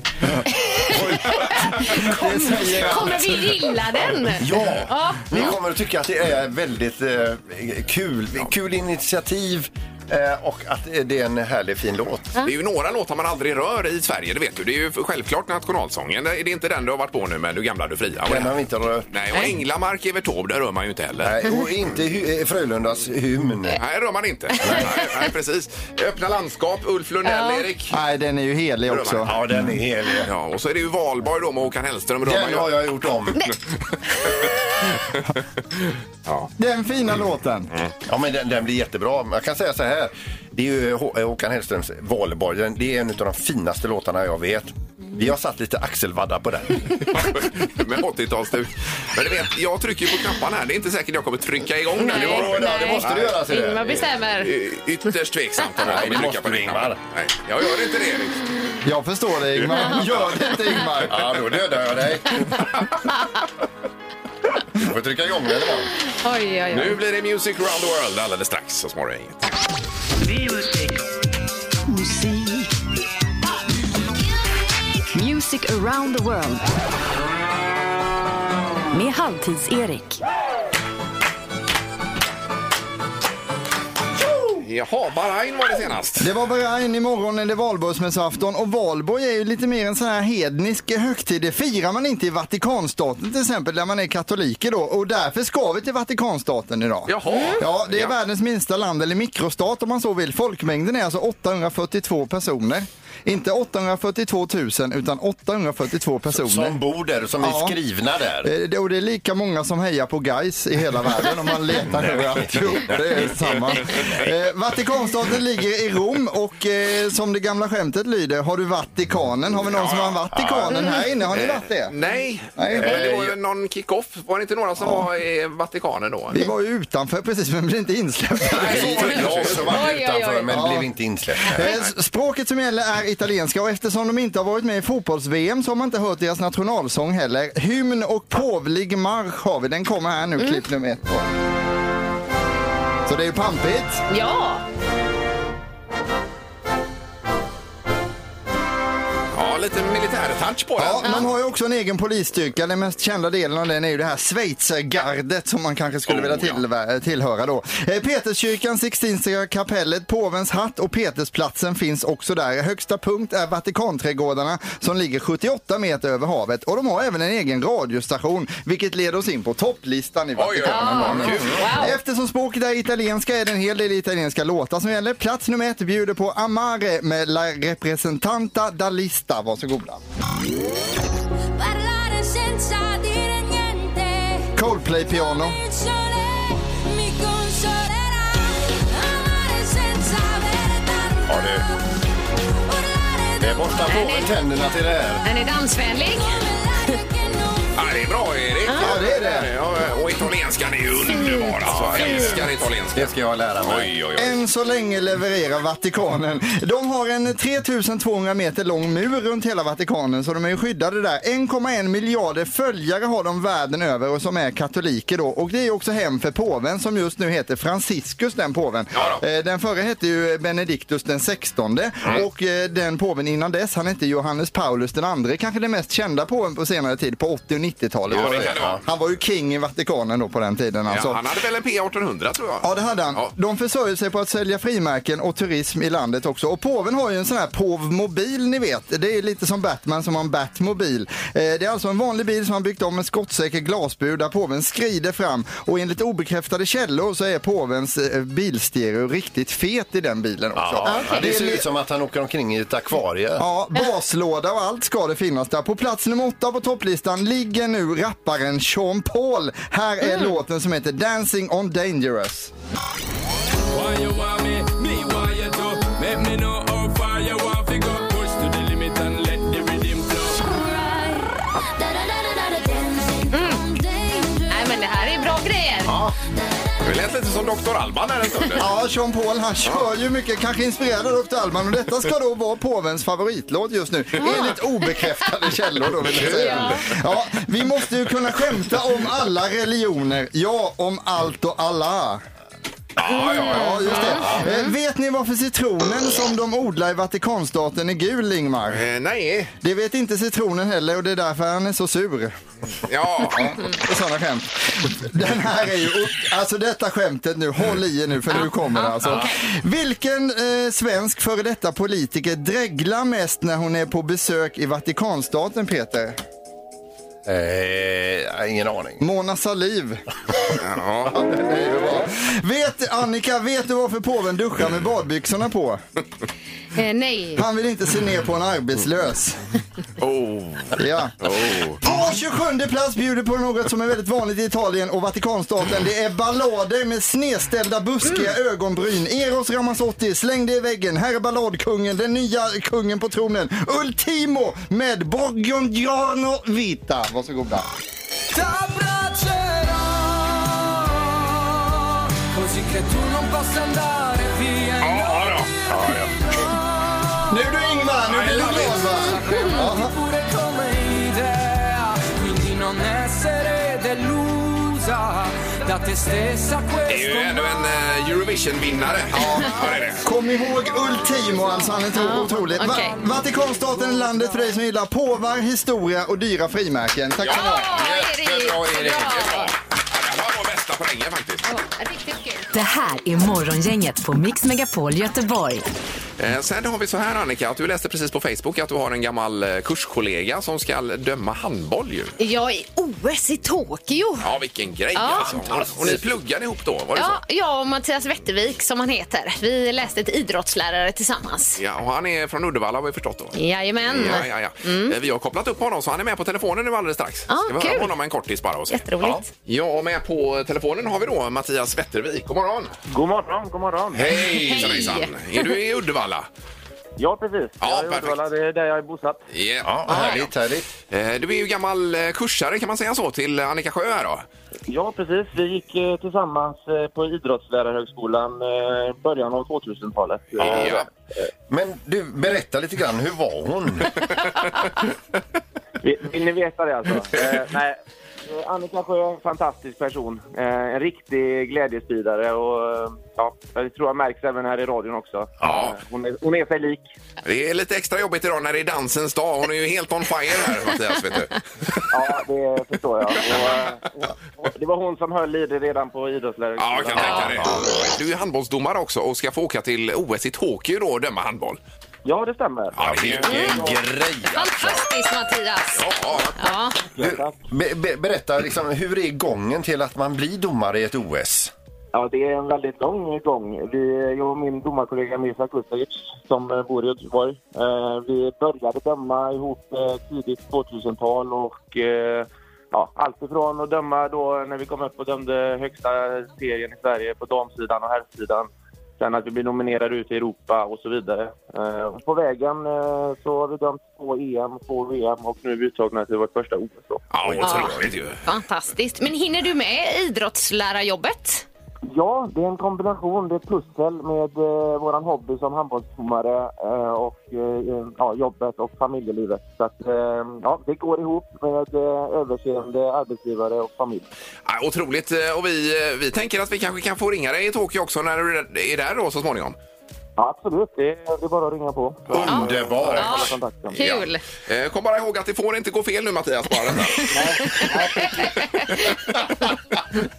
Det säger han.
Kommer vi gilla den?
Ja, ni kommer att tycka att det är väldigt eh, kul. Kul initiativ eh, och att eh, det är en härlig fin låt.
Det är ju några låtar man aldrig rör i Sverige, det vet du. Det är ju självklart nationalsången. Det är inte den du har varit på nu med Du gamla, du fria. Och
Den har
det-
vi inte rört.
Nej, och Änglamark, Evert Taube, där rör man ju inte heller.
Nej, och inte hu- eh, Frölundas hymn.
Nej, det rör man inte. Nej, nej, precis. Öppna landskap, Ulf Lundell, Erik.
Nej, den är ju helig
Rör man
också.
inte.
Ja, den är helig.
Ja, och så är det ju Valborg då med Håkan Hellström. Rör man
Den
ju-
har jag gjort om.
Den fina låten.
Mm.
Ja, men den, den blir jättebra. Jag kan säga så här. Det är ju Hå- Håkan Hellströms Valborg. Den, det är en av de finaste låtarna jag vet. Vi har satt lite axelvaddar på den.
med 80-talsduk. Men du vet, jag trycker ju på knapparna här. Det är inte säkert jag kommer trycka igång den.
Nej,
Det var-
nej. det måste du göra, ser du.
Ingmar bestämmer.
Y- Ytterst tveksamt om jag
Nej,
kommer
det
trycka på
måste du,
den.
Ingmar.
Nej, jag gör inte det Erik.
Jag förstår dig
Mm.
Ingmar. Gör det inte Ingmar.
Ja, då dödar jag dig. Du får trycka igång den ibland.
Oj, oj, oj.
Nu blir det Music Round the World alldeles strax. Så småningom. inget.
Music around the world. Med Halvtids-Erik.
Jaha, Bahrain var det senast.
Det var Bahrain, imorgon är det valborgsmässoafton och valborg är ju lite mer en sån här hednisk högtid. Det firar man inte i Vatikanstaten till exempel där man är katoliker då och därför ska vi till Vatikanstaten idag.
Jaha.
Ja, det är
Ja.
världens minsta land eller mikrostat om man så vill. Folkmängden är alltså 842 personer. Inte 842 000 utan 842 personer.
Som bor där, som
Ja.
är skrivna där.
Eh, det- Och det är lika många som hejar på guys i hela världen om man letar överallt. Jo, det är samma. Eh, Vatikanstaten ligger i Rom och eh, som det gamla skämtet lyder, har du Vatikanen? Har vi någon som har Vatikanen här inne? Har ni varit det?
Nej,
Nej.
Eh, det var ju någon kick-off. Var det inte några som var i Vatikanen då?
Vi var ju utanför precis, men blev inte insläppta.
Vi jag också var
Oj, oj, oj.
utanför men
Ja.
blev inte insläppt.
Eh, s- Språket som gäller är italienska och eftersom de inte har varit med i fotbolls-VM så har man inte hört deras nationalsång heller. Hymn och påvlig marsch har vi. Den kommer här nu, klipp nummer ett. Så det är ju pampigt.
Ja,
Ja, lite militärtouch på
Ja,
den.
man har ju också en egen polisstyrka. Den mest kända delen av den är ju det här schweizergardet som man kanske skulle
Oh,
vilja
ja.
tillvä- tillhöra då. Eh, Peterskyrkan, Sixtinska kapellet, Påvens hatt och Petersplatsen finns också där. Högsta punkt är Vatikanträdgårdarna som ligger 78 meter över havet och de har även en egen radiostation vilket leder oss in på topplistan i
Oj, oj,
Vatikanen.
oj. Kul.
Eftersom språket är italienska är det en hel del italienska låtar som gäller. Plats nummer ett bjuder på Amare med La Representanta Dallista. Varsågoda.
Parlare senza dire niente.
Coldplay piano.
Il sole mi consolerà. Amare senza avere tanto.
Ja, det-
Urlare
Det är borta
nej.
på tänderna till det här.
den är dansvänlig.
come l'aria che non
Ja, det är bra Erik.
Ja, det är det.
Ja, och italienskan är ju underbar alltså. Jag älskar italienska.
Det ska jag lära mig.
Oj, oj, oj.
Än så länge levererar Vatikanen. De har en 3200 meter lång mur runt hela Vatikanen så de är ju skyddade där. 1,1 miljarder följare har de världen över och som är katoliker då. Och det är ju också hem för påven som just nu heter Franciscus den påven.
Ja då. Mm.
Eh, Den förre hette ju Benediktus den 16 och eh, den påven innan dess han hette Johannes Paulus den andre. Kanske den mest kända påven på senare tid på 80 och 90-talet.
Ja,
var
det
det.
kan det vara.
Han var ju king i Vatikanen då på den tiden. Alltså.
Ja, han hade väl en P1800 tror jag.
Ja, det hade han. De försörjer sig på att sälja frimärken och turism i landet också. Och påven har ju en sån här påvmobil, ni vet. Det är lite som Batman som har en Batmobil. Eh, det är alltså en vanlig bil som han byggt om en skottsäker glasbur där påven skrider fram. Och enligt obekräftade källor så är påvens eh, bilstereo riktigt fet i den bilen också.
Ja, Det ser
li-
ut som att han åker omkring i ett akvarie.
Ja, baslåda och allt ska det finnas där. På plats nummer åtta på topplistan ligger nu rapparen Sean Paul. Här är låten som heter Dancing on Dangerous.
Why you want me? Me why you do? Make me know how far you want to go. Push to the limit and let the rhythm
Nej, men det här är bra grejer.
Det lät lite som Dr. Alban där en stund.
Ja, Sean Paul han kör ju mycket, kanske inspirerad av Dr. Alman och detta ska då vara påvens favoritlåt just nu. Enligt obekräftade källor då vill jag säga. Ja, vi måste ju kunna skämta om alla religioner, ja om allt och alla.
Ja, ja,
ja. just det. Eh, Vet ni varför citronen som de odlar i Vatikanstaten är gul, Ingmar?
Eh, nej.
Det vet inte citronen heller och det är därför han är så sur.
Ja.
Och sådana skämt. Den här är ju, upp- alltså detta skämtet nu, håll i er nu för nu kommer det alltså. Vilken eh, svensk före detta politiker dreglar mest när hon är på besök i Vatikanstaten, Peter?
Eh, ingen aning.
Mona Saliv. Vet, Annika, vet du varför påven duschar med badbyxorna på?
Eh, nej.
Han vill inte se ner på en arbetslös.
Oh.
Ja.
Oh.
På 27 plats bjuder på något som är väldigt vanligt i Italien och Vatikanstaten. Det är ballader med snedställda buskiga ögonbryn. Eros Ramazzotti slängde i väggen. Här är balladkungen, den nya kungen på tronen. Ultimo med Borgongiano Vita. Varsågoda.
T'abbraccerò così che tu non possa andare via.
Nu du Ingmar, nu blir du glad va?
Pure come idea, quindi non essere delusa da te stessa
Det är ju
questo
ändå en eh, Eurovision-vinnare. Ja, det är det.
Kom ihåg Ultimo, alltså han är
Ja,
ja, otroligt. Va-
okej.
Vatikanstaten är landet för dig som gillar påvar, historia och dyra frimärken. Tack ska ni ha.
Jättebra, Erik. Jättebra. Ja, Det här var bästa på länge faktiskt.
Det här är Morgongänget på Mix Megapol Göteborg.
Eh, Sen har vi så här Annika, att du läste precis på Facebook att du har en gammal eh, kurskollega som ska döma handboll ju.
Jag är OS i Tokyo.
Ja, vilken grej
Ja.
alltså. Och ni pluggade ihop då, var det
Ja, jag och Mattias Wettervik, som han heter, vi läste ett idrottslärare tillsammans.
så? Ja, och han är från Uddevalla har vi förstått då.
Jajamän.
Ja, ja, ja. Eh, Vi har kopplat upp honom så han är med på telefonen nu alldeles strax.
Mm. Ja,
Ska vi höra
kul.
på honom en kortis bara och se.
Jätteroligt.
Ja, och med på telefonen har vi då Mattias Wettervik. God morgon!
God morgon, god morgon.
Hej, hejsan! Är du i Uddevalla?
Ja, precis.
Ja,
jag är i Uddevalla, det är där jag är bosatt.
Yeah. Ja, härligt, härligt. Du är ju gammal eh, kursare kan man säga så till Annika Sjö här då.
Ja, precis. Vi gick eh, tillsammans eh, på Idrottslärarhögskolan eh, början av 2000-talet.
Ja. Men du, berätta lite grann. Hur var hon?
Vill, vill ni veta det alltså? Eh, nej. Eh, Annika Sjö, en fantastisk person. Eh, en riktig glädjespridare och eh, ja, jag tror jag märks även här i radion också.
Ja.
Hon är, hon är sig lik.
Det är lite extra jobbigt idag när det är dansens dag. Hon är ju helt on fire här Mattias vet du.
Ja, det förstår jag. Och, eh, och, det var hon som höll i det redan på idrottslärarhögskolan.
Ja, jag kan tänka det. Du är ju handbollsdomare också och ska få åka till OS i Tokyo då och döma handboll.
Ja, det stämmer.
Ja, det är ju en grej!
Fantastiskt, Mattias! Ja.
Du, be, be, berätta, liksom, hur är gången till att man blir domare i ett OS?
Ja, det är en väldigt lång gång. Vi, jag och min domarkollega Mirza Kustagic, som eh, bor i Göteborg, eh, vi började döma ihop eh, tidigt 2000-tal och eh, ja, allt ifrån att döma då när vi kom upp och dömde högsta serien i Sverige på damsidan och herrsidan, sen att vi blev nominerade ute i Europa och så vidare. Eh, och på vägen eh, så har vi dömt två EM, två VM och nu är vi uttagna till vårt första OS. då.
Ja, otroligt ju.
Fantastiskt. Men hinner du med idrottslärarjobbet?
Ja, det är en kombination. Det är ett pussel med eh, våran hobby som handbollsdomare eh, och eh, ja, jobbet och familjelivet. Så att, eh, ja, det går ihop med eh, överseende arbetsgivare och familj.
Ja, otroligt. eh, Och vi, eh, vi tänker att vi kanske kan få ringa dig i Tokyo också när du är där då så småningom.
Ja, absolut, det är, det är bara att ringa på.
Underbart!
Jag har kontakten.
Kul.
Ja. Eh, Kom bara ihåg att det får inte gå fel nu Mattias. Bara detta.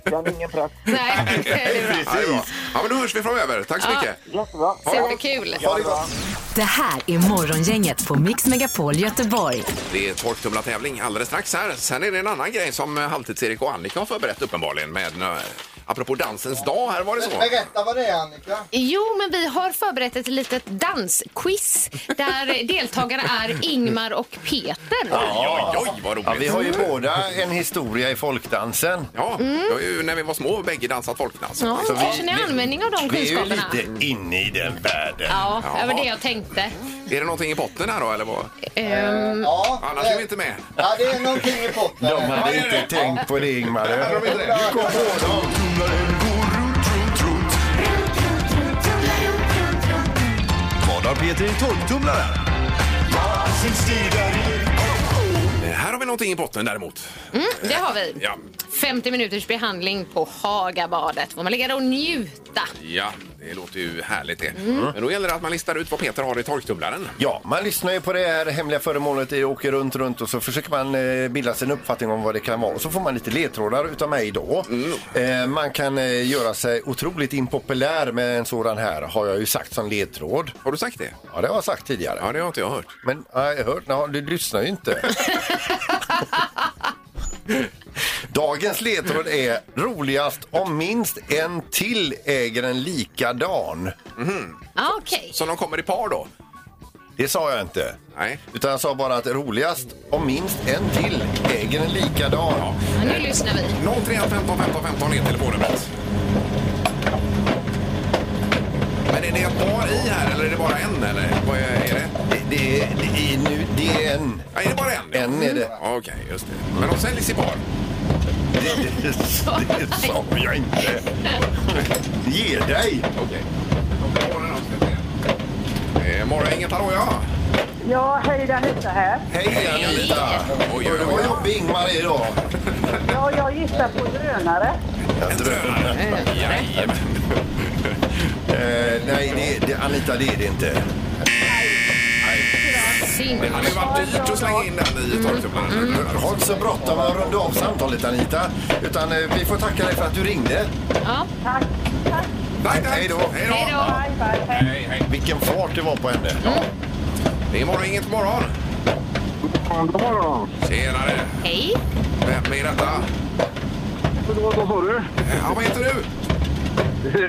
Jag har ingen press.
Nej, det är bra.
Ja, det är bra. ja, men då hörs vi framöver. Tack så
Ja.
mycket.
Jättebra.
Superkul.
Ha det gott.
Det här är Morgongänget på Mix Megapol Göteborg.
Det är torktumlartävling alldeles strax här. Sen är det en annan grej som eh, Halvtids-Erik och Annika har förberett uppenbarligen med eh, apropå dansens dag. Här var det så.
Berätta vad det är Annika.
Jo, men vi har förberett ett litet dansquiz där deltagarna är Ingmar och Peter.
Oj, oj, oj, vad roligt. Mm.
Ja, vi har ju Mm. båda en historia i folkdansen.
Ja, det var ju när vi var små och bägge dansat folkdans.
Ja,
Så vi-
kanske ni har användning av de
Vi är ju
kunskaperna.
lite inne i den världen.
Ja, det var
Jaha.
det jag tänkte.
Är det någonting i botten här då eller vad?
Ehm,
Ja,
Mm. Annars är vi inte med.
ja det är någonting i potten.
De hade inte tänkt på det, Ingmar. Du kom på dem.
Vad har Peter i torktumlaren?
Eh, Här har vi någonting i botten däremot.
mm, det har vi.
Ja,
50 minuters behandling på Hagabadet. Får man ligga där och njuta.
ja det låter ju härligt det.
Mm.
Men då gäller det att man listar ut vad Peter har i torktumlaren.
Ja, man lyssnar ju på det här hemliga föremålet, det åker runt, runt och så försöker man eh, bilda sig en uppfattning om vad det kan vara. Och så får man lite ledtrådar utav mig då.
Mm.
Eh, man kan eh, göra sig otroligt impopulär med en sådan här, har jag ju sagt som ledtråd.
Har du sagt det?
Ja, det har jag sagt tidigare.
Ja, det har inte jag hört.
Men ja, jag hört, ja, du lyssnar ju inte. Dagens ledtråd är roligast om minst en till äger en likadan.
Ja, Okej.
Så de kommer i par då?
Det sa jag inte.
Nej.
Utan jag sa bara att roligast om minst en till äger en likadan.
Ja, Nu lyssnar vi.
03 15 15 15 är telefonnumret. Men är det ett par i här eller är det bara en eller? Vad är är det?
Det, det, är- det, är nu, det är en.
Ja, är det bara en?
En är det.
Okej, just det. Men de säljs i par?
Det, det, det sa jag inte. Ge dig!
Okej. Eh, Morgongänget, hallå ja!
Ja, hej, det Hesa här.
Hej Anita!
Oj,
Och
oj,
det var
oj.
jobbig Ingmar är idag.
Ja, jag gissar på drönare.
En drönare.
Jajamän.
Eh, nej, det, det, Anita det är det inte.
Det hade ju varit dyrt att slänga in den i torktumlaren.
Har inte så bråttom att runda av samtalet Anita. Utan eh, vi får tacka dig för att du ringde.
Ja.
Tack, tack.
Nej, nej.
Hej då.
Hej då!
Hej då.
Bye, bye, hej.
Hej, hej.
Vilken fart det var på henne.
Det är Morgongänget morgon.
God morgon.
Tjenare!
Hej.
Vem är detta?
Förlåt, vad sa du?
Ja, vad heter du?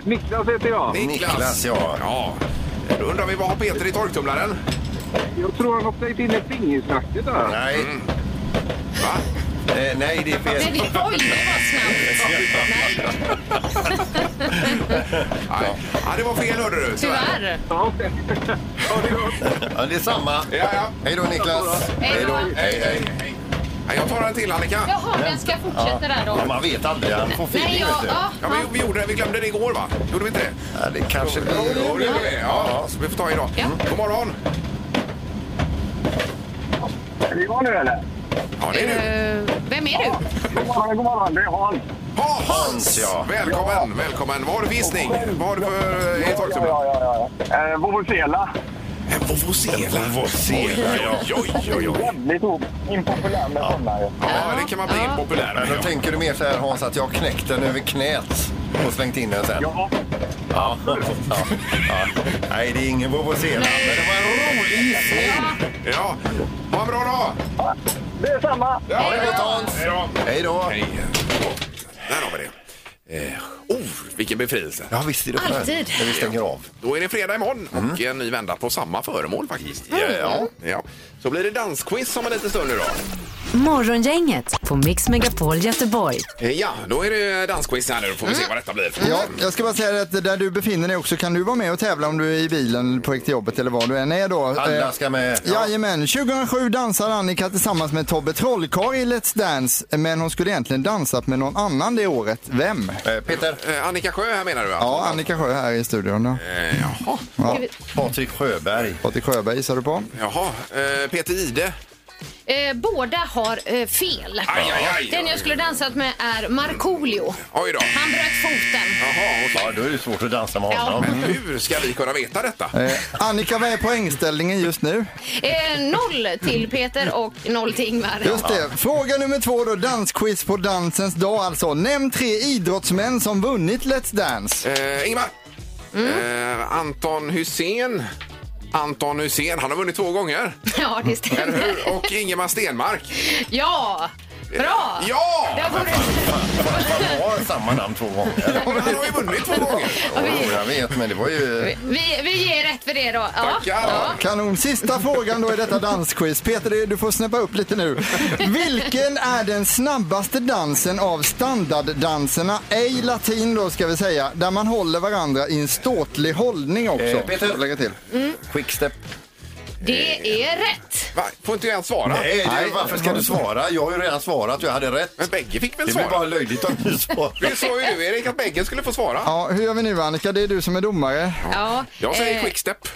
Niklas heter jag.
Niklas.
Niklas, ja.
ja. Eh, Då undrar vi vad har Peter i torktumlaren?
Jag tror han har plöjt in ett fingersnacket där.
Nej,
Va?
eh, nej det är
Men
fel.
det, oj, det var snabbt. Nej,
Nej. Ja, det var fel hörde du.
tyvärr.
Ja, okej. Ha det gott.
Ja, det är samma.
Ja, ja.
Hej då Niklas.
Hej då.
Hej, hej.
Nej, jag tar en till Annika.
Jaha, den ska fortsätta där
Ja,
då.
man vet aldrig, han får
Nej,
feeling
ja,
vet du.
ja.
Ja, vi, vi, gjorde det. vi glömde det igår va? Gjorde vi inte det?
Ja, det kanske blir...
Jo, det gjorde vi. Ja, så vi får ta idag.
Ja.
God morgon!
Är det jag nu eller?
Ja, det är du.
Eh, Vem är du?
God morgon, god morgon. Det är Hans.
Ha, Hans!
ja.
Välkommen, välkommen. Vad har du för gissning? Vad har du för eh, i
Ja,
torktumlaren?
ja, ja. ja. Eh, Vovvuzela.
En vovvozela.
Vovvozela, ja.
Oj, oj, oj, oj.
Jävligt op- impopulär med sådana ju.
Ja, det kan man bli impopulär
Men
med.
då
Ja.
tänker du mer så här Hans, att jag har knäckt den över knät och slängt in den sen?
Ja,
Ja. ja. Nej, det är ingen vovvozela. Men det var en rolig gissning.
ja. Ha en bra dag!
det är samma.
Ja,
Ha det gott Hans.
Hej då!
Hej då.
Hej. Där har vi det. Eh, oh, vilken befrielse!
Ja, visst är det skönt
Alltid.
när vi stänger av.
Då är det fredag imorgon och en ny vända på samma föremål faktiskt. Mm. Ja, ja. Så blir det dansquiz om en liten stund nu då.
Morgongänget på Mix Megapol Göteborg.
Eh, Ja, Mm. då är det dansquiz här nu. Då får vi se vad detta blir.
Ja, jag ska bara säga det att där du befinner dig också kan du vara med och tävla om du är i bilen på väg till jobbet eller var du än är då.
Alla
Eh,
ska med.
Jajamän, 2007 dansade Annika tillsammans med Tobbe Trollkarl i Let's Dance men hon skulle egentligen dansat med någon annan det året. Vem?
Eh, Peter
Eh, Annika Sjö här menar du? va?
Ja, Annika Sjö här i studion. då.
Eh, jaha.
Ja.
Patrik Sjöberg.
Patrik Sjöberg gissar du på.
jaha. Eh, Peter Ide.
Eh, båda har eh, fel.
aj, aj,
Den
aj.
jag skulle dansat med är Markoolio.
Oj då.
Han bröt foten.
Jaha, okej.
Ja, då är det svårt att dansa med
Ja.
honom.
Men hur ska vi kunna veta detta?
Eh, Annika, vad är poängställningen just nu?
Eh, noll till Peter och noll till Ingvar.
Just det. Fråga nummer två då, dansquiz på dansens dag alltså. Nämn tre idrottsmän som vunnit Let's Dance.
Eh, Ingmar.
Mm.
Eh, Anton Hussein. Anton Hussein, han har vunnit två gånger.
Ja, det
Eller
stämmer.
hur? Och Ingemar Stenmark.
Ja! Bra!
Ja!
Där får du-
Han har samma namn två gånger.
Ja, men han har ju vunnit två gånger.
Jo, jag vet, men det var ju...
Vi, vi ger rätt för det då. Ja. Ja.
Kanon. Sista frågan då i detta dansquiz. Peter, det- du får snäppa upp lite nu. Vilken är den snabbaste dansen av standarddanserna, ej latin då ska vi säga, där man håller varandra i en ståtlig hållning också?
Eh, Peter.
Får Lägga till.
Quickstep.
Det är rätt.
Va? Får inte jag ens svara?
Nej, det, varför ska du svara? Jag har ju redan svarat, jag hade rätt.
Men bägge fick väl
Det blir
svara?
bara löjligt om du svarar.
Det sa ju du Erik att bägge skulle få svara.
Ja, hur gör vi nu Annika? Det är du som är domare.
Ja.
Jag säger
eh,
quickstep.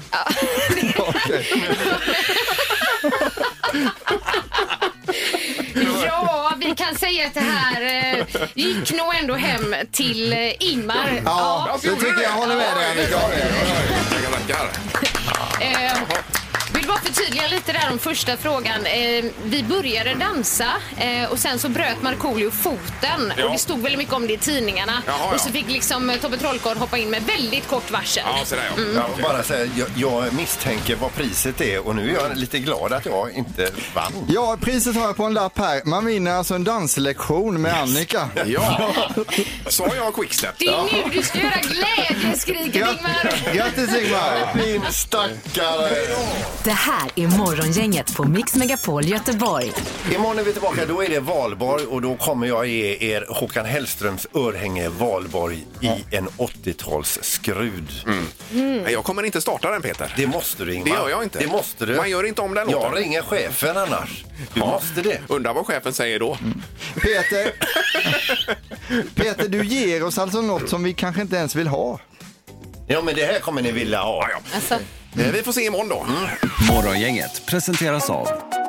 Ja, vi kan säga att det här eh, gick nog ändå hem till eh, Ingmar.
Ja,
Ja,
det tycker jag. Håller med dig Annika.
Tackar, tackar.
Eh, vill bara förtydliga lite där om första frågan. Eh, vi började dansa eh, och sen så bröt Markoolio foten.
Ja.
Och det stod väldigt mycket om det i tidningarna.
Jaha, ja.
Och så fick liksom eh, Tobbe Trollkarl hoppa in med väldigt kort varsel.
Ja, så där ja.
Mm.
Jag vill bara säga, jag, jag misstänker vad priset är och nu är jag lite glad att jag inte vann.
Ja, priset har jag på en lapp här. Man vinner alltså en danslektion med Annika.
Ja, sa jag quickstep?
Det är nu du ska göra glädjeskriket Ingmar!
Grattis Ingmar!
Min stackare!
Det här är Morgongänget på Mix Megapol Göteborg.
Imorgon är vi tillbaka, då är det valborg och då kommer jag ge er Håkan Hellströms örhänge valborg i en 80-talsskrud.
Nej, Jag kommer inte starta den Peter.
Det måste du Ingmar.
Mm. Det gör jag inte.
Det måste du.
Man gör inte om den
Jag
låten.
ringer chefen annars. Du måste det.
Undrar vad chefen säger då.
Mm. Peter. Peter, du ger oss alltså något som vi kanske inte ens vill ha.
Ja men det här kommer ni vilja ha.
Alltså,
Eh, Vi får se imorgon då.
Mm.
Morgongänget presenteras av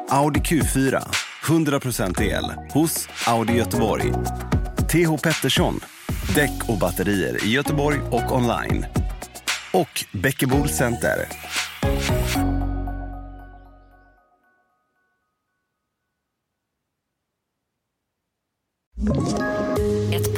Audi Q4. 100% el hos Audi Göteborg. TH Pettersson. Däck och batterier i Göteborg och online. Och Bäckebol Center.
Ett